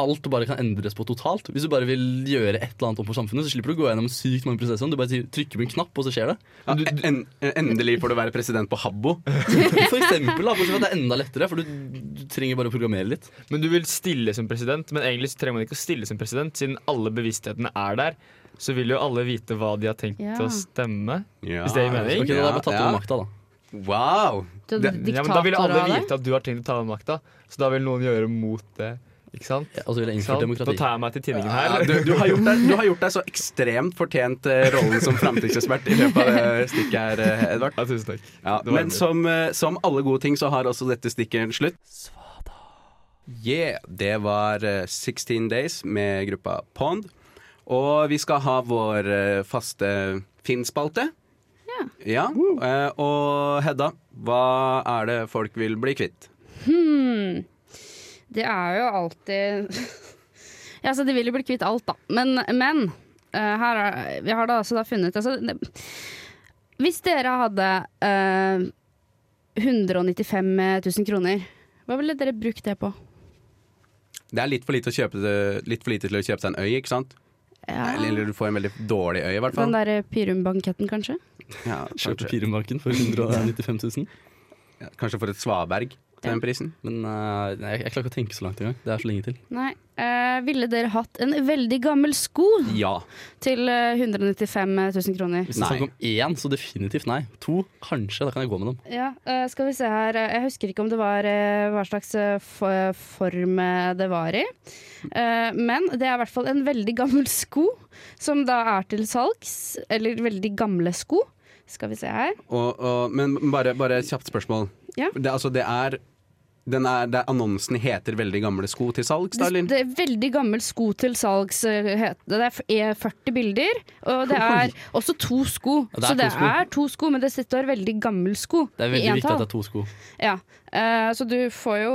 [SPEAKER 6] alt bare kan endres på totalt. Hvis du bare vil gjøre et eller annet om på samfunnet, så slipper du å gå gjennom sykt mange prosesser. Du bare sier- trykker på en knapp, og så skjer det.
[SPEAKER 4] Ja, en, endelig får du være president på Habbo.
[SPEAKER 6] For eksempel, da, bortsett fra at det er enda lettere, for du, du trenger bare å programmere litt.
[SPEAKER 9] Men du vil stille som president, men egentlig så trenger man ikke å stille som president, siden alle bevissthetene er der. Så vil jo alle vite hva de har tenkt
[SPEAKER 5] Ja.
[SPEAKER 9] å stemme.
[SPEAKER 4] Ja.
[SPEAKER 9] Hvis det gir mening?
[SPEAKER 6] Ok, da har jeg bare tatt over makta, da.
[SPEAKER 4] Wow!
[SPEAKER 5] Du hadde
[SPEAKER 4] Det-
[SPEAKER 9] Ja, men da vil
[SPEAKER 5] diktatorer
[SPEAKER 9] alle
[SPEAKER 5] av deg.
[SPEAKER 9] vite at du har tenkt å ta over makta, så da vil noen gjøre mot det. Ikke sant?
[SPEAKER 6] Og så ville jeg
[SPEAKER 9] Ikke sant?
[SPEAKER 6] innført
[SPEAKER 9] Nå
[SPEAKER 6] demokrati.
[SPEAKER 9] tar jeg meg til tinningen
[SPEAKER 4] Ja,
[SPEAKER 9] her.
[SPEAKER 4] du, du, har gjort deg, du har gjort deg så ekstremt fortjent eh, rollen som framtidsekspert i løpet av det stikket her, eh, Edvard.
[SPEAKER 9] Ja, tusen takk.
[SPEAKER 4] Ja,
[SPEAKER 9] Det var
[SPEAKER 4] men
[SPEAKER 9] mye.
[SPEAKER 4] som, eh, som alle gode ting så har også dette stikket en slutt. Yeah, det var eh, 16 Days med gruppa Pond. Og vi skal ha vår eh, faste Finn-spalte. Ja. eh, og Hedda, hva er det folk vil bli kvitt?
[SPEAKER 5] Hmm. Det er jo alltid Ja, så de vil jo bli kvitt alt, da. Men, men eh, her er, vi har da altså da funnet altså, det, Hvis dere hadde eh, 195 000 kroner, hva ville dere brukt det på?
[SPEAKER 4] Det er litt for lite, å kjøpe, litt for lite til å kjøpe seg en øy, ikke sant?
[SPEAKER 5] Ja,
[SPEAKER 4] Eller, eller du får en veldig dårlig øy, i hvert
[SPEAKER 5] den
[SPEAKER 4] fall.
[SPEAKER 5] derre Pyrum-banketten, kanskje?
[SPEAKER 4] Ja,
[SPEAKER 6] Kjøpte
[SPEAKER 4] kanskje,
[SPEAKER 6] Pirumbanken for 195 000.
[SPEAKER 4] ja, kanskje for et svaberg til den prisen.
[SPEAKER 6] Men eh, nei, jeg, jeg klarer ikke å tenke så langt engang. Det er så lenge til.
[SPEAKER 5] Nei. Eh, ville dere hatt en veldig gammel sko
[SPEAKER 4] Ja.
[SPEAKER 5] til eh, 195 000 kroner?
[SPEAKER 6] Hvis det er snakk om én, så definitivt nei. To, kanskje. Da kan jeg gå med dem.
[SPEAKER 5] Ja, eh, skal vi se her. Eh, Jeg husker ikke om det var eh, hva slags eh, fo- form eh, det var i. Eh, Men det er i hvert fall en veldig gammel sko, som da er til salgs. Eller veldig gamle sko. Skal vi se her.
[SPEAKER 4] Og, og, men bare, bare et kjapt spørsmål.
[SPEAKER 5] Ja.
[SPEAKER 4] Det, altså, det er, den er, det er Annonsen heter 'Veldig gamle sko til salgs', da,
[SPEAKER 5] Det,
[SPEAKER 4] Linn?
[SPEAKER 5] det er veldig gammel sko til salgs. eh, het- Det er f- er 40 bilder, og det er også to sko.
[SPEAKER 6] Ja, det er
[SPEAKER 5] Så det
[SPEAKER 6] to sko.
[SPEAKER 5] er to sko, men det står veldig gammel sko
[SPEAKER 6] Det er
[SPEAKER 5] i
[SPEAKER 6] veldig viktig at
[SPEAKER 5] entall.
[SPEAKER 6] det er to sko.
[SPEAKER 5] Ja. eh, Så du får jo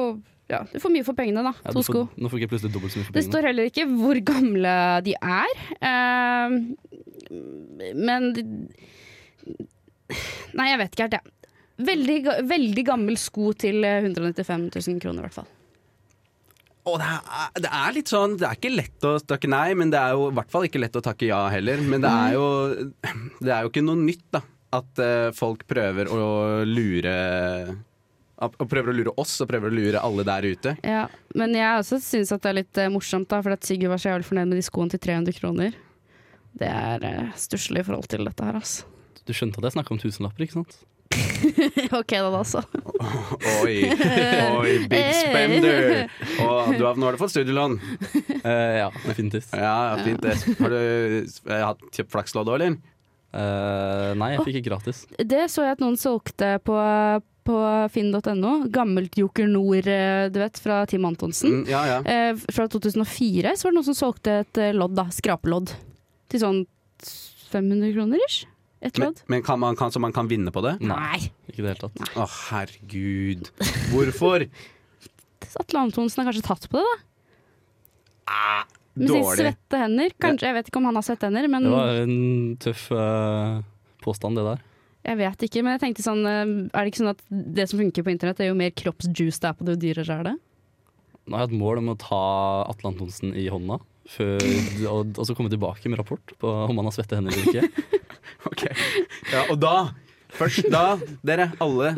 [SPEAKER 5] ja, du får mye for pengene, da.
[SPEAKER 6] Ja,
[SPEAKER 5] to
[SPEAKER 6] du får,
[SPEAKER 5] sko.
[SPEAKER 6] Nå får ikke jeg plutselig dobbelt så mye for
[SPEAKER 5] Det
[SPEAKER 6] pengene.
[SPEAKER 5] står heller ikke hvor gamle de er. eh, men de- Nei, jeg vet ikke helt, jeg. Veldig, ga- veldig gammel sko til eh, 195 000 kroner, i hvert fall.
[SPEAKER 4] Å, det, er, det er litt sånn Det er ikke lett å takke nei, men det er jo i hvert fall ikke lett å takke ja heller. Men det er jo, det er jo ikke noe nytt, da. At eh, folk prøver å lure at- og Prøver å lure oss og prøver å lure alle der ute.
[SPEAKER 5] Ja, men jeg også syns at det er litt eh, morsomt, da, for at Sigurd var så jævlig fornøyd med de skoene til 300 kroner. Det er uh, stusslig i forhold til dette her, altså.
[SPEAKER 6] Du skjønte at jeg snakka om tusenlapper, ikke sant?
[SPEAKER 5] OK, da, da, altså.
[SPEAKER 4] Oi, oi, big spender! Og du har, nå har du fått studielån.
[SPEAKER 6] Eh, ja, definitivt.
[SPEAKER 4] Ja, ja, fint det. Har du eh, hatt kjøpt flakslodd òg, eller?
[SPEAKER 6] Eh, nei, jeg fikk ikke gratis.
[SPEAKER 5] Det så jeg at noen solgte på, på finn.no. Gammelt Joker Nord, eh, du vet, fra Team Antonsen.
[SPEAKER 4] Mm, ja, ja.
[SPEAKER 5] Eh, fra 2004 så var det noen som solgte et eh, lodd, da, skrapelodd, til sånn 500 kroner ish. Et
[SPEAKER 4] Men,
[SPEAKER 5] lodd.
[SPEAKER 4] men kan man, kan, så man kan vinne på det?
[SPEAKER 5] Nei.
[SPEAKER 6] Ikke i det hele tatt.
[SPEAKER 4] Å, herregud. Hvorfor?
[SPEAKER 5] Atle Antonsen har kanskje tatt på det, da. Med sine
[SPEAKER 4] Dårlig.
[SPEAKER 5] svette hender. Kanskje, jeg vet ikke om han har svette hender, men
[SPEAKER 6] Det var en tøff eh, påstand, det der.
[SPEAKER 5] jeg vet ikke. Men jeg tenkte sånn, eh, er det ikke sånn at det som funker på internett, er jo mer kroppsjuice det er på det, jo dyrere er det?
[SPEAKER 6] Nå har jeg et mål om å ta Atle Antonsen i hånda. Før, og, og så komme tilbake med rapport på om han har svette hender eller ikke.
[SPEAKER 4] Ok. Ja, og da, først da, dere alle,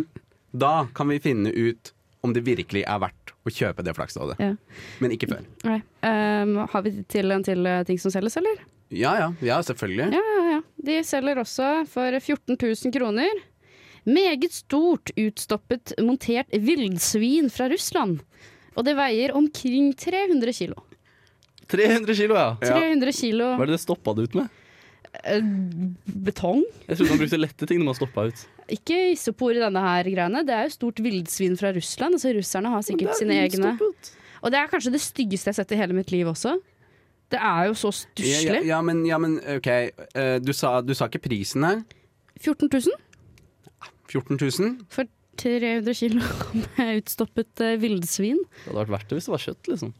[SPEAKER 4] da kan vi finne ut om det virkelig er verdt å kjøpe det flakslodet.
[SPEAKER 5] Ja.
[SPEAKER 4] Men ikke før.
[SPEAKER 5] Nei. Um, har vi til en til eh, ting som selges, eller?
[SPEAKER 4] Ja ja, ja selvfølgelig.
[SPEAKER 5] Ja, ja, ja. De selger også for 14 000 kroner. Meget stort utstoppet montert villsvin fra Russland. Og det veier omkring 300 kilo.
[SPEAKER 6] 300 kilo, ja.
[SPEAKER 4] Ja.
[SPEAKER 5] 300 kilo
[SPEAKER 6] Hva er det det stoppa det ut med?
[SPEAKER 5] eh, betong.
[SPEAKER 6] Jeg trodde han brukte lette ting når man stoppa ut.
[SPEAKER 5] Ikke isopor i denne her greiene. Det er jo stort vildsvin fra Russland. Altså russerne har sikkert sine egne. Og det er kanskje det styggeste jeg har sett i hele mitt liv også. Det er jo så
[SPEAKER 4] Ja, ja,
[SPEAKER 5] stusslig.
[SPEAKER 4] ja, men, ja, men OK. eh, Du sa, du sa ikke prisen her.
[SPEAKER 5] 14 000
[SPEAKER 4] 14 000?
[SPEAKER 5] for 300 kilo med utstoppet eh, villsvin.
[SPEAKER 6] Det hadde vært verdt det hvis det var kjøtt, liksom.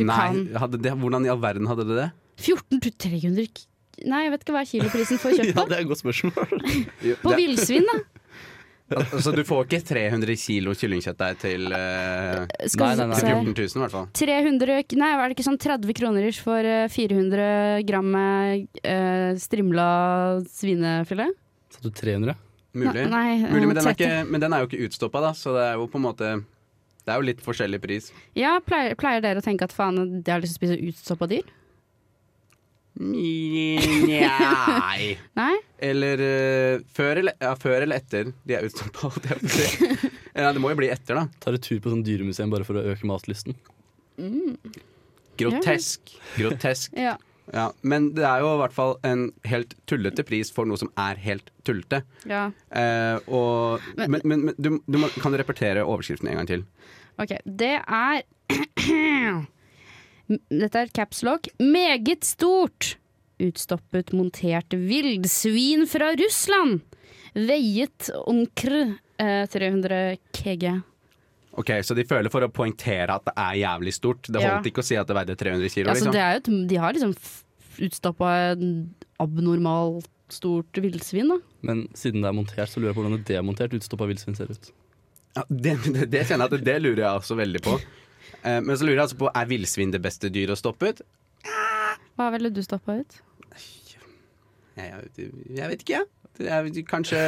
[SPEAKER 5] Du
[SPEAKER 4] Nei,
[SPEAKER 5] kan.
[SPEAKER 4] hadde det, hvordan i all verden hadde det det?
[SPEAKER 5] 14 000 300 k- Nei, jeg vet ikke hva er kiloprisen for kjøtt
[SPEAKER 6] Ja,
[SPEAKER 5] da.
[SPEAKER 6] det er et godt spørsmål.
[SPEAKER 5] På villsvin, da.
[SPEAKER 4] Så du får ikke 300 kilo kyllingkjøtt der til eh,
[SPEAKER 5] Skal
[SPEAKER 6] Nei, nei, nei.
[SPEAKER 5] se her.
[SPEAKER 4] 14 000 i hvert fall.
[SPEAKER 5] 300, k- nei, var det ikke sånn 30 kroner ish for eh, 400 gram med eh, strimla svinefilet?
[SPEAKER 6] Satt du 300?
[SPEAKER 4] Mulig.
[SPEAKER 5] Nei, eh, nei,
[SPEAKER 4] Mulig men, den er
[SPEAKER 5] 30.
[SPEAKER 4] ikke, men den er jo ikke utstoppa, da, så det er jo på en måte Det er jo litt forskjellig pris.
[SPEAKER 5] Ja, pleier, pleier dere å tenke at faen, jeg har lyst til å spise utstoppa dyr?
[SPEAKER 4] Nei.
[SPEAKER 5] Nei?
[SPEAKER 4] Eller eh, før, eller, ja, før eller etter de er utstoppa. Ja, det må jo bli etter, da.
[SPEAKER 6] Tar en tur på sånn dyremuseum bare for å øke matlysten.
[SPEAKER 4] Grotesk. Grotesk.
[SPEAKER 5] Ja.
[SPEAKER 4] Ja, men det er jo i hvert fall en helt tullete pris for noe som er helt tullete.
[SPEAKER 5] ja.
[SPEAKER 4] Eh, og,
[SPEAKER 5] Men-
[SPEAKER 4] men men, men du, du må, kan du repetere overskriften en gang til?
[SPEAKER 5] Ok, det er Dette er caps lock. Meget stort! Utstoppet montert villsvin fra Russland. Veiet omkring eh, 300 kg.
[SPEAKER 4] Ok, Så de føler for å poengtere at det er jævlig stort. Det
[SPEAKER 5] Ja.
[SPEAKER 4] holdt ikke å si at det veide 300 kilo.
[SPEAKER 5] Ja, så
[SPEAKER 4] liksom.
[SPEAKER 5] Altså, det er jo et, de har liksom utstappa en abnormalt stort villsvin, da.
[SPEAKER 6] Men siden det er montert, så lurer jeg på hvordan et demontert utstoppa villsvin ser ut.
[SPEAKER 4] Ja, det, det, det kjenner jeg at det lurer jeg også veldig på. Eh, men så lurer jeg altså på er villsvin det beste dyret å stoppe ut?
[SPEAKER 5] Hva ville du stappa ut?
[SPEAKER 4] Jeg, jeg, jeg vet ikke, jeg. Det er Kanskje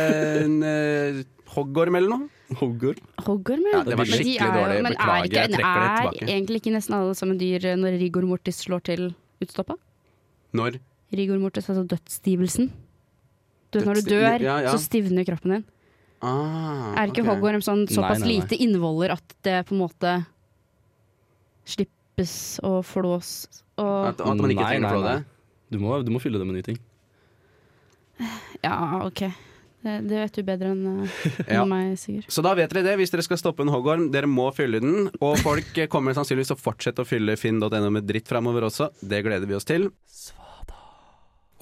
[SPEAKER 4] en eh, hoggorm eller noe?
[SPEAKER 6] Hoggorm?
[SPEAKER 5] Hoggorm,
[SPEAKER 4] Ja, det var
[SPEAKER 5] Men de
[SPEAKER 4] skikkelig
[SPEAKER 5] er jo-
[SPEAKER 4] dårlig.
[SPEAKER 5] men er
[SPEAKER 4] Beklager,
[SPEAKER 5] ikke-
[SPEAKER 4] jeg trekker det
[SPEAKER 5] Er
[SPEAKER 4] tilbake.
[SPEAKER 5] egentlig ikke nesten alle som en dyr eh, når rigor mortis slår til utstoppa?
[SPEAKER 4] Når?
[SPEAKER 5] Rigor mortis, altså dødsstivelsen. Du vet når du dør,
[SPEAKER 4] Dødssti- ja, ja.
[SPEAKER 5] så stivner kroppen din.
[SPEAKER 4] Ah,
[SPEAKER 5] Er ikke
[SPEAKER 4] ok.
[SPEAKER 5] hoggorm sånn såpass
[SPEAKER 6] nei, nei.
[SPEAKER 5] lite innvoller at det på en måte slippes og flås og
[SPEAKER 4] At, at man ikke
[SPEAKER 6] Nei,
[SPEAKER 4] trenger å
[SPEAKER 6] nei,
[SPEAKER 4] flå det?
[SPEAKER 6] nei. Du må, du må fylle det med nye ting.
[SPEAKER 5] Ja, OK. Det, det vet du bedre enn eh,
[SPEAKER 4] Ja.
[SPEAKER 5] enn meg, Sigurd.
[SPEAKER 4] Så da vet dere det, hvis dere skal stoppe en hoggorm, dere må fylle den. Og folk eh, kommer sannsynligvis til å fortsette å fylle finn.no med dritt framover også. Det gleder vi oss til.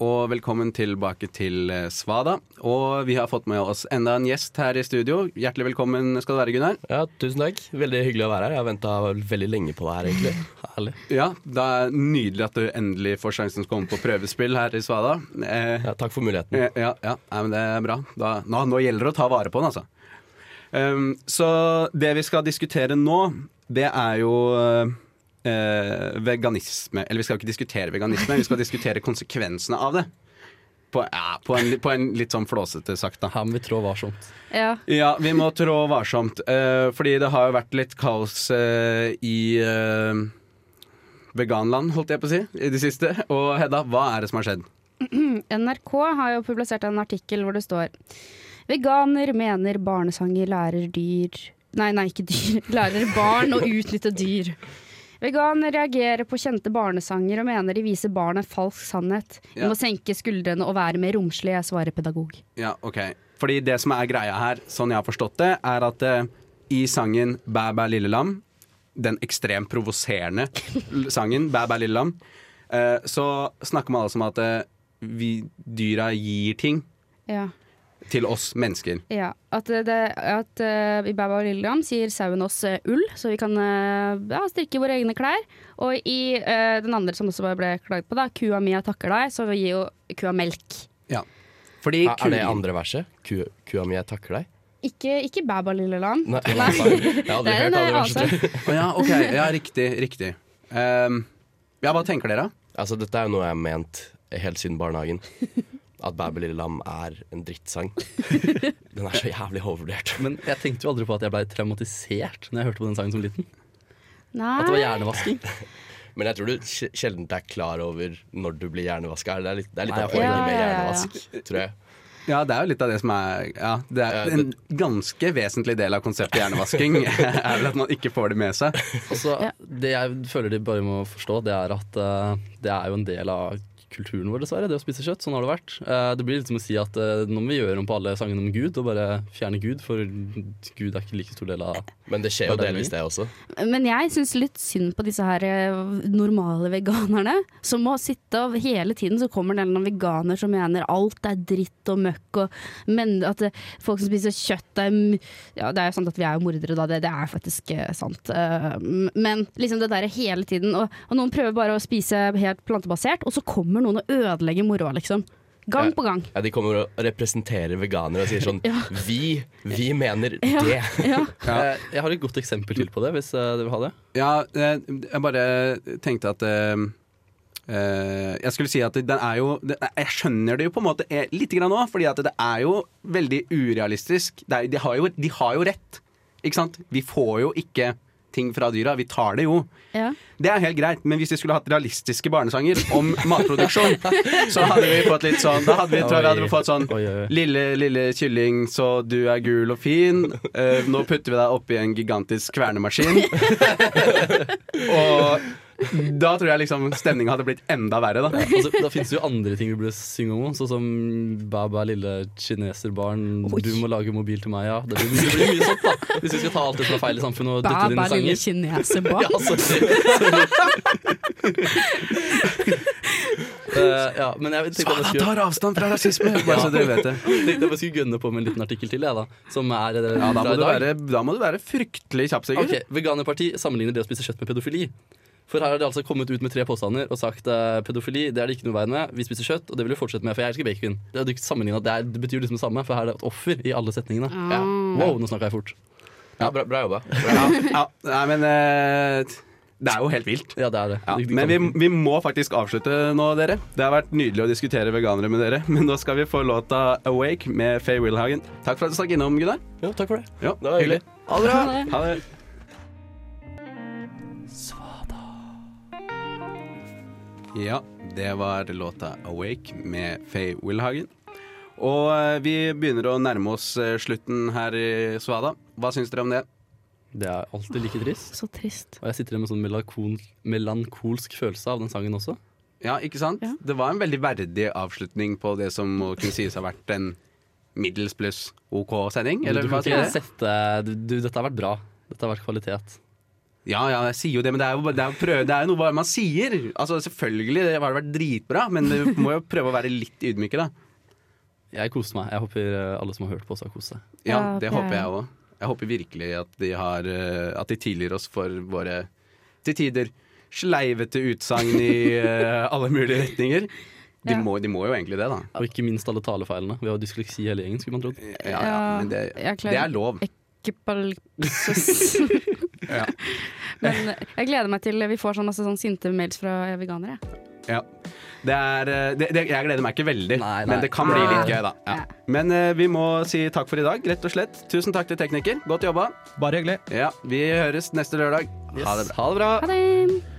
[SPEAKER 4] Og velkommen tilbake til eh, Svada. Og vi har fått med oss enda en gjest her i studio. Hjertelig velkommen skal du være, Gunnar.
[SPEAKER 8] Ja, tusen takk. Veldig hyggelig å være her. Jeg har venta veldig lenge på det her, egentlig.
[SPEAKER 6] Herlig.
[SPEAKER 4] Ja, det er Nydelig at du endelig får sjansen til å komme på prøvespill her i Svada. Eh,
[SPEAKER 8] Ja, takk for muligheten.
[SPEAKER 4] ja, ja, ja. Nei, men det er bra. Da, nå, nå gjelder det å ta vare på den, altså. Um, så det vi skal diskutere nå, det er jo eh, veganisme. Eller vi skal ikke diskutere veganisme, vi skal diskutere konsekvensene av det. På, ja, på, en, på en litt sånn flåsete sagt, da.
[SPEAKER 6] Her må vi trå varsomt.
[SPEAKER 5] Ja.
[SPEAKER 4] Ja, vi må trå varsomt. eh, fordi det har jo vært litt kaos eh, i eh, veganland, holdt jeg på å si, i det siste. Og Hedda, hva er det som har skjedd?
[SPEAKER 5] NRK har jo publisert en artikkel hvor det står Veganer mener barnesanger lærer dyr Nei, nei, ikke dyr. Lærer barn å utnytte dyr. Veganer reagerer på kjente barnesanger og mener de viser barn en falsk sannhet. Vi
[SPEAKER 4] Ja.
[SPEAKER 5] må senke skuldrene og være mer romslige, svarer pedagog.
[SPEAKER 4] Ja, ok. Fordi det som er greia her, sånn jeg har forstått det, er at eh, i sangen Bæ bæ lille lam, den ekstremt provoserende l- sangen Bæ bæ lille lam, eh, så snakker man altså om at eh, vi dyra gir ting
[SPEAKER 5] Ja.
[SPEAKER 4] til oss mennesker.
[SPEAKER 5] Ja, at, det, at eh, i Baba og Lillian sier sauen oss eh, ull, så vi kan eh, ja, strikke våre egne klær. Og i eh, den andre som også bare ble klaget på, da, kua mi jeg takker deg, så vi gir jo kua melk.
[SPEAKER 4] Ja. Fordi
[SPEAKER 8] Er, er det
[SPEAKER 4] kuer-
[SPEAKER 8] andre verset? Ku, kua mi, jeg takker deg?
[SPEAKER 5] Ikke, ikke Baba Lilleland.
[SPEAKER 8] Nei, sorry. jeg har
[SPEAKER 5] Det
[SPEAKER 8] aldri
[SPEAKER 5] er en
[SPEAKER 8] hørt
[SPEAKER 5] eh,
[SPEAKER 8] andre verset. Altså,
[SPEAKER 5] annen sang.
[SPEAKER 4] Å ja, ok. Ja, riktig. Riktig. Ehm, ja, hva tenker dere?
[SPEAKER 8] Altså, dette er jo noe jeg har ment helt siden barnehagen. at 'Babel Lille Lam' er en drittsang. Den er så jævlig overvurdert.
[SPEAKER 6] Men jeg tenkte jo aldri på at jeg ble traumatisert Når jeg hørte på den sangen som liten. At det var
[SPEAKER 5] Nei.
[SPEAKER 6] hjernevasking.
[SPEAKER 8] Men jeg tror du sj- sjelden er klar over når du blir hjernevaska. Det er litt, det er litt
[SPEAKER 6] Nei,
[SPEAKER 8] av
[SPEAKER 6] jeg
[SPEAKER 8] poenget
[SPEAKER 5] får det. Ja, ja,
[SPEAKER 8] med
[SPEAKER 5] ja, ja.
[SPEAKER 8] hjernevask, tror jeg.
[SPEAKER 4] Ja, det er jo litt av det som er Ja, det
[SPEAKER 8] Ja,
[SPEAKER 4] er
[SPEAKER 8] Eh, det-
[SPEAKER 4] en ganske vesentlig del av konseptet hjernevasking. er vel at man ikke får det med seg.
[SPEAKER 6] Og så
[SPEAKER 5] Ja.
[SPEAKER 6] Altså, Det jeg føler de bare må forstå, det er at eh, det er jo en del av kulturen vår, dessverre. Det å spise kjøtt. Sånn har det vært. Eh, det blir litt som å si at eh, nå må vi gjøre om på alle sangene om Gud, og bare fjerne Gud, for Gud er ikke like stor del av
[SPEAKER 8] Men det skjer jo
[SPEAKER 6] Hva er det
[SPEAKER 8] delvis det også.
[SPEAKER 5] Men jeg syns litt synd på disse her eh, normale veganerne. Som må sitte og hele tiden så kommer det en eller annen veganer som mener alt er dritt og møkk. Og men at eh, folk som spiser kjøtt er m- Ja, det er jo sant at vi er jo mordere, da. Det, det er faktisk eh, sant. Eh, m- Men liksom det derre hele tiden. Og, og noen prøver bare å spise helt plantebasert, og så kommer noen og ødelegger moroa, liksom. Gang
[SPEAKER 8] Ja.
[SPEAKER 5] på gang.
[SPEAKER 8] Ja, de kommer og representerer veganere og sier sånn
[SPEAKER 5] Ja.
[SPEAKER 8] Vi, vi mener
[SPEAKER 5] Ja.
[SPEAKER 8] det.
[SPEAKER 5] Ja.
[SPEAKER 6] Eh, Jeg har et godt eksempel til på det, hvis eh, dere vil ha det.
[SPEAKER 4] Ja, eh, jeg bare tenkte at eh, eh, Jeg skulle si at den er jo den, Jeg skjønner det jo på en måte eh, lite grann òg, fordi at det er jo veldig urealistisk. Det er, de, har jo, de har jo rett, ikke sant? Vi får jo ikke ting fra dyra. Vi tar det jo.
[SPEAKER 5] Ja.
[SPEAKER 4] Det er helt greit, men hvis vi skulle hatt realistiske barnesanger om matproduksjon, så hadde vi fått litt sånn Da hadde vi, tror jeg vi hadde fått sånn
[SPEAKER 6] Oi, oi, oi.
[SPEAKER 4] Lille, lille kylling, så du er gul og fin. Eh, nå putter vi deg oppi en gigantisk kvernemaskin. og da tror jeg liksom stemninga hadde blitt enda verre, da.
[SPEAKER 6] Altså, da finnes det jo andre ting vi burde synge om, sånn som Baba, lille kineserbarn, du må lage mobil til meg, ja. Det blir, det blir mye sånt, da. Hvis vi skal ta alt det som er feil i samfunnet og dytte det inn
[SPEAKER 5] Baba
[SPEAKER 6] i
[SPEAKER 5] lille
[SPEAKER 6] sanger.
[SPEAKER 5] kineserbarn.
[SPEAKER 6] Ja, sorry. Eh, ja, men jeg tenkte jeg bare skulle,
[SPEAKER 4] avstand fra rasisme! Bare så dere vet det.
[SPEAKER 6] tenkte jeg bare skulle gønne på med en liten artikkel til, jeg, da. Som er eh,
[SPEAKER 4] Ja, da, må
[SPEAKER 6] fra i
[SPEAKER 4] du
[SPEAKER 6] dag.
[SPEAKER 4] være, da må du være fryktelig kjappsikker.
[SPEAKER 6] Ok, Veganerparti sammenligner det å spise kjøtt med pedofili. For her har de altså kommet ut med tre påstander og sagt eh, pedofili det er det ikke noe i veien med. Vi spiser kjøtt, og det vil vi fortsette med, for jeg elsker bacon. Det, er jo ikke sammenlignet, det, er, det betyr jo liksom det samme, for her er det et offer i alle setningene.
[SPEAKER 8] Ja.
[SPEAKER 6] Wow, nå snakka jeg fort.
[SPEAKER 8] Ja, bra, bra jobba.
[SPEAKER 4] Ja, ja, nei, men eh, Det er jo helt vilt.
[SPEAKER 6] Ja, det er det.
[SPEAKER 4] Ja,
[SPEAKER 6] Du- du
[SPEAKER 4] men vi,
[SPEAKER 6] kan-
[SPEAKER 4] vi må faktisk avslutte nå, dere. Det har vært nydelig å diskutere veganere med dere. Men nå skal vi få låta 'Awake' med Faye Wilhagen. Takk for at du stakk innom, Gunnar.
[SPEAKER 8] Jo, takk for det.
[SPEAKER 4] Ja,
[SPEAKER 8] Det var hyggelig.
[SPEAKER 4] Ha det bra.
[SPEAKER 5] Ha det.
[SPEAKER 4] Ha det. Ja, det var låta 'Awake' med Faye Wilhagen. Og eh, vi begynner å nærme oss eh, slutten her i Svada. Hva syns dere om det?
[SPEAKER 6] Det er alltid like trist.
[SPEAKER 5] Så trist.
[SPEAKER 6] Og jeg sitter igjen med en sånn melankol, melankolsk følelse av den sangen også.
[SPEAKER 4] Ja, ikke sant?
[SPEAKER 5] Ja.
[SPEAKER 4] Det var en veldig verdig avslutning på det som må kunne sies har vært en middels pluss OK sending. Eller
[SPEAKER 6] du
[SPEAKER 4] hva
[SPEAKER 6] kan
[SPEAKER 4] sier
[SPEAKER 6] ikke
[SPEAKER 4] dere?
[SPEAKER 6] sette du, du, Dette har vært bra. Dette har vært kvalitet.
[SPEAKER 4] Ja, ja, jeg sier jo det, men det er jo, bare- det er jo, prøve, det er jo noe bare man sier. Altså, Selvfølgelig det har det vært dritbra, men du må jo prøve å være litt ydmyke, da.
[SPEAKER 6] Jeg koste meg. Jeg håper eh, alle som har hørt på, også har kost seg.
[SPEAKER 4] Ja,
[SPEAKER 5] Ja,
[SPEAKER 4] det
[SPEAKER 5] det er-
[SPEAKER 4] håper jeg òg. Jeg håper virkelig at de, har, eh, at de tilgir oss for våre til tider sleivete utsagn i eh, alle mulige retninger. De
[SPEAKER 5] Ja.
[SPEAKER 4] må, de må jo egentlig det, da.
[SPEAKER 6] Og ikke minst alle talefeilene. Vi har jo dysleksi hele gjengen, skulle man trodd.
[SPEAKER 4] Ja, ja, men det,
[SPEAKER 5] jeg
[SPEAKER 4] det er lov.
[SPEAKER 5] Ekkalypsis.
[SPEAKER 4] Ja.
[SPEAKER 5] Men eh, jeg gleder meg til vi får sånn masse sånn sinte mails fra veganere.
[SPEAKER 4] Ja. Det er, eh, det, det, jeg gleder meg ikke veldig,
[SPEAKER 6] Nei, nei.
[SPEAKER 4] men det kan bli litt gøy, da. Ja.
[SPEAKER 5] Ja.
[SPEAKER 4] Men eh, vi må si takk for i dag, rett og slett. Tusen takk til tekniker. Godt jobba.
[SPEAKER 9] Bare hyggelig.
[SPEAKER 4] Ja, vi høres neste lørdag. Ha det bra.
[SPEAKER 5] Ha det!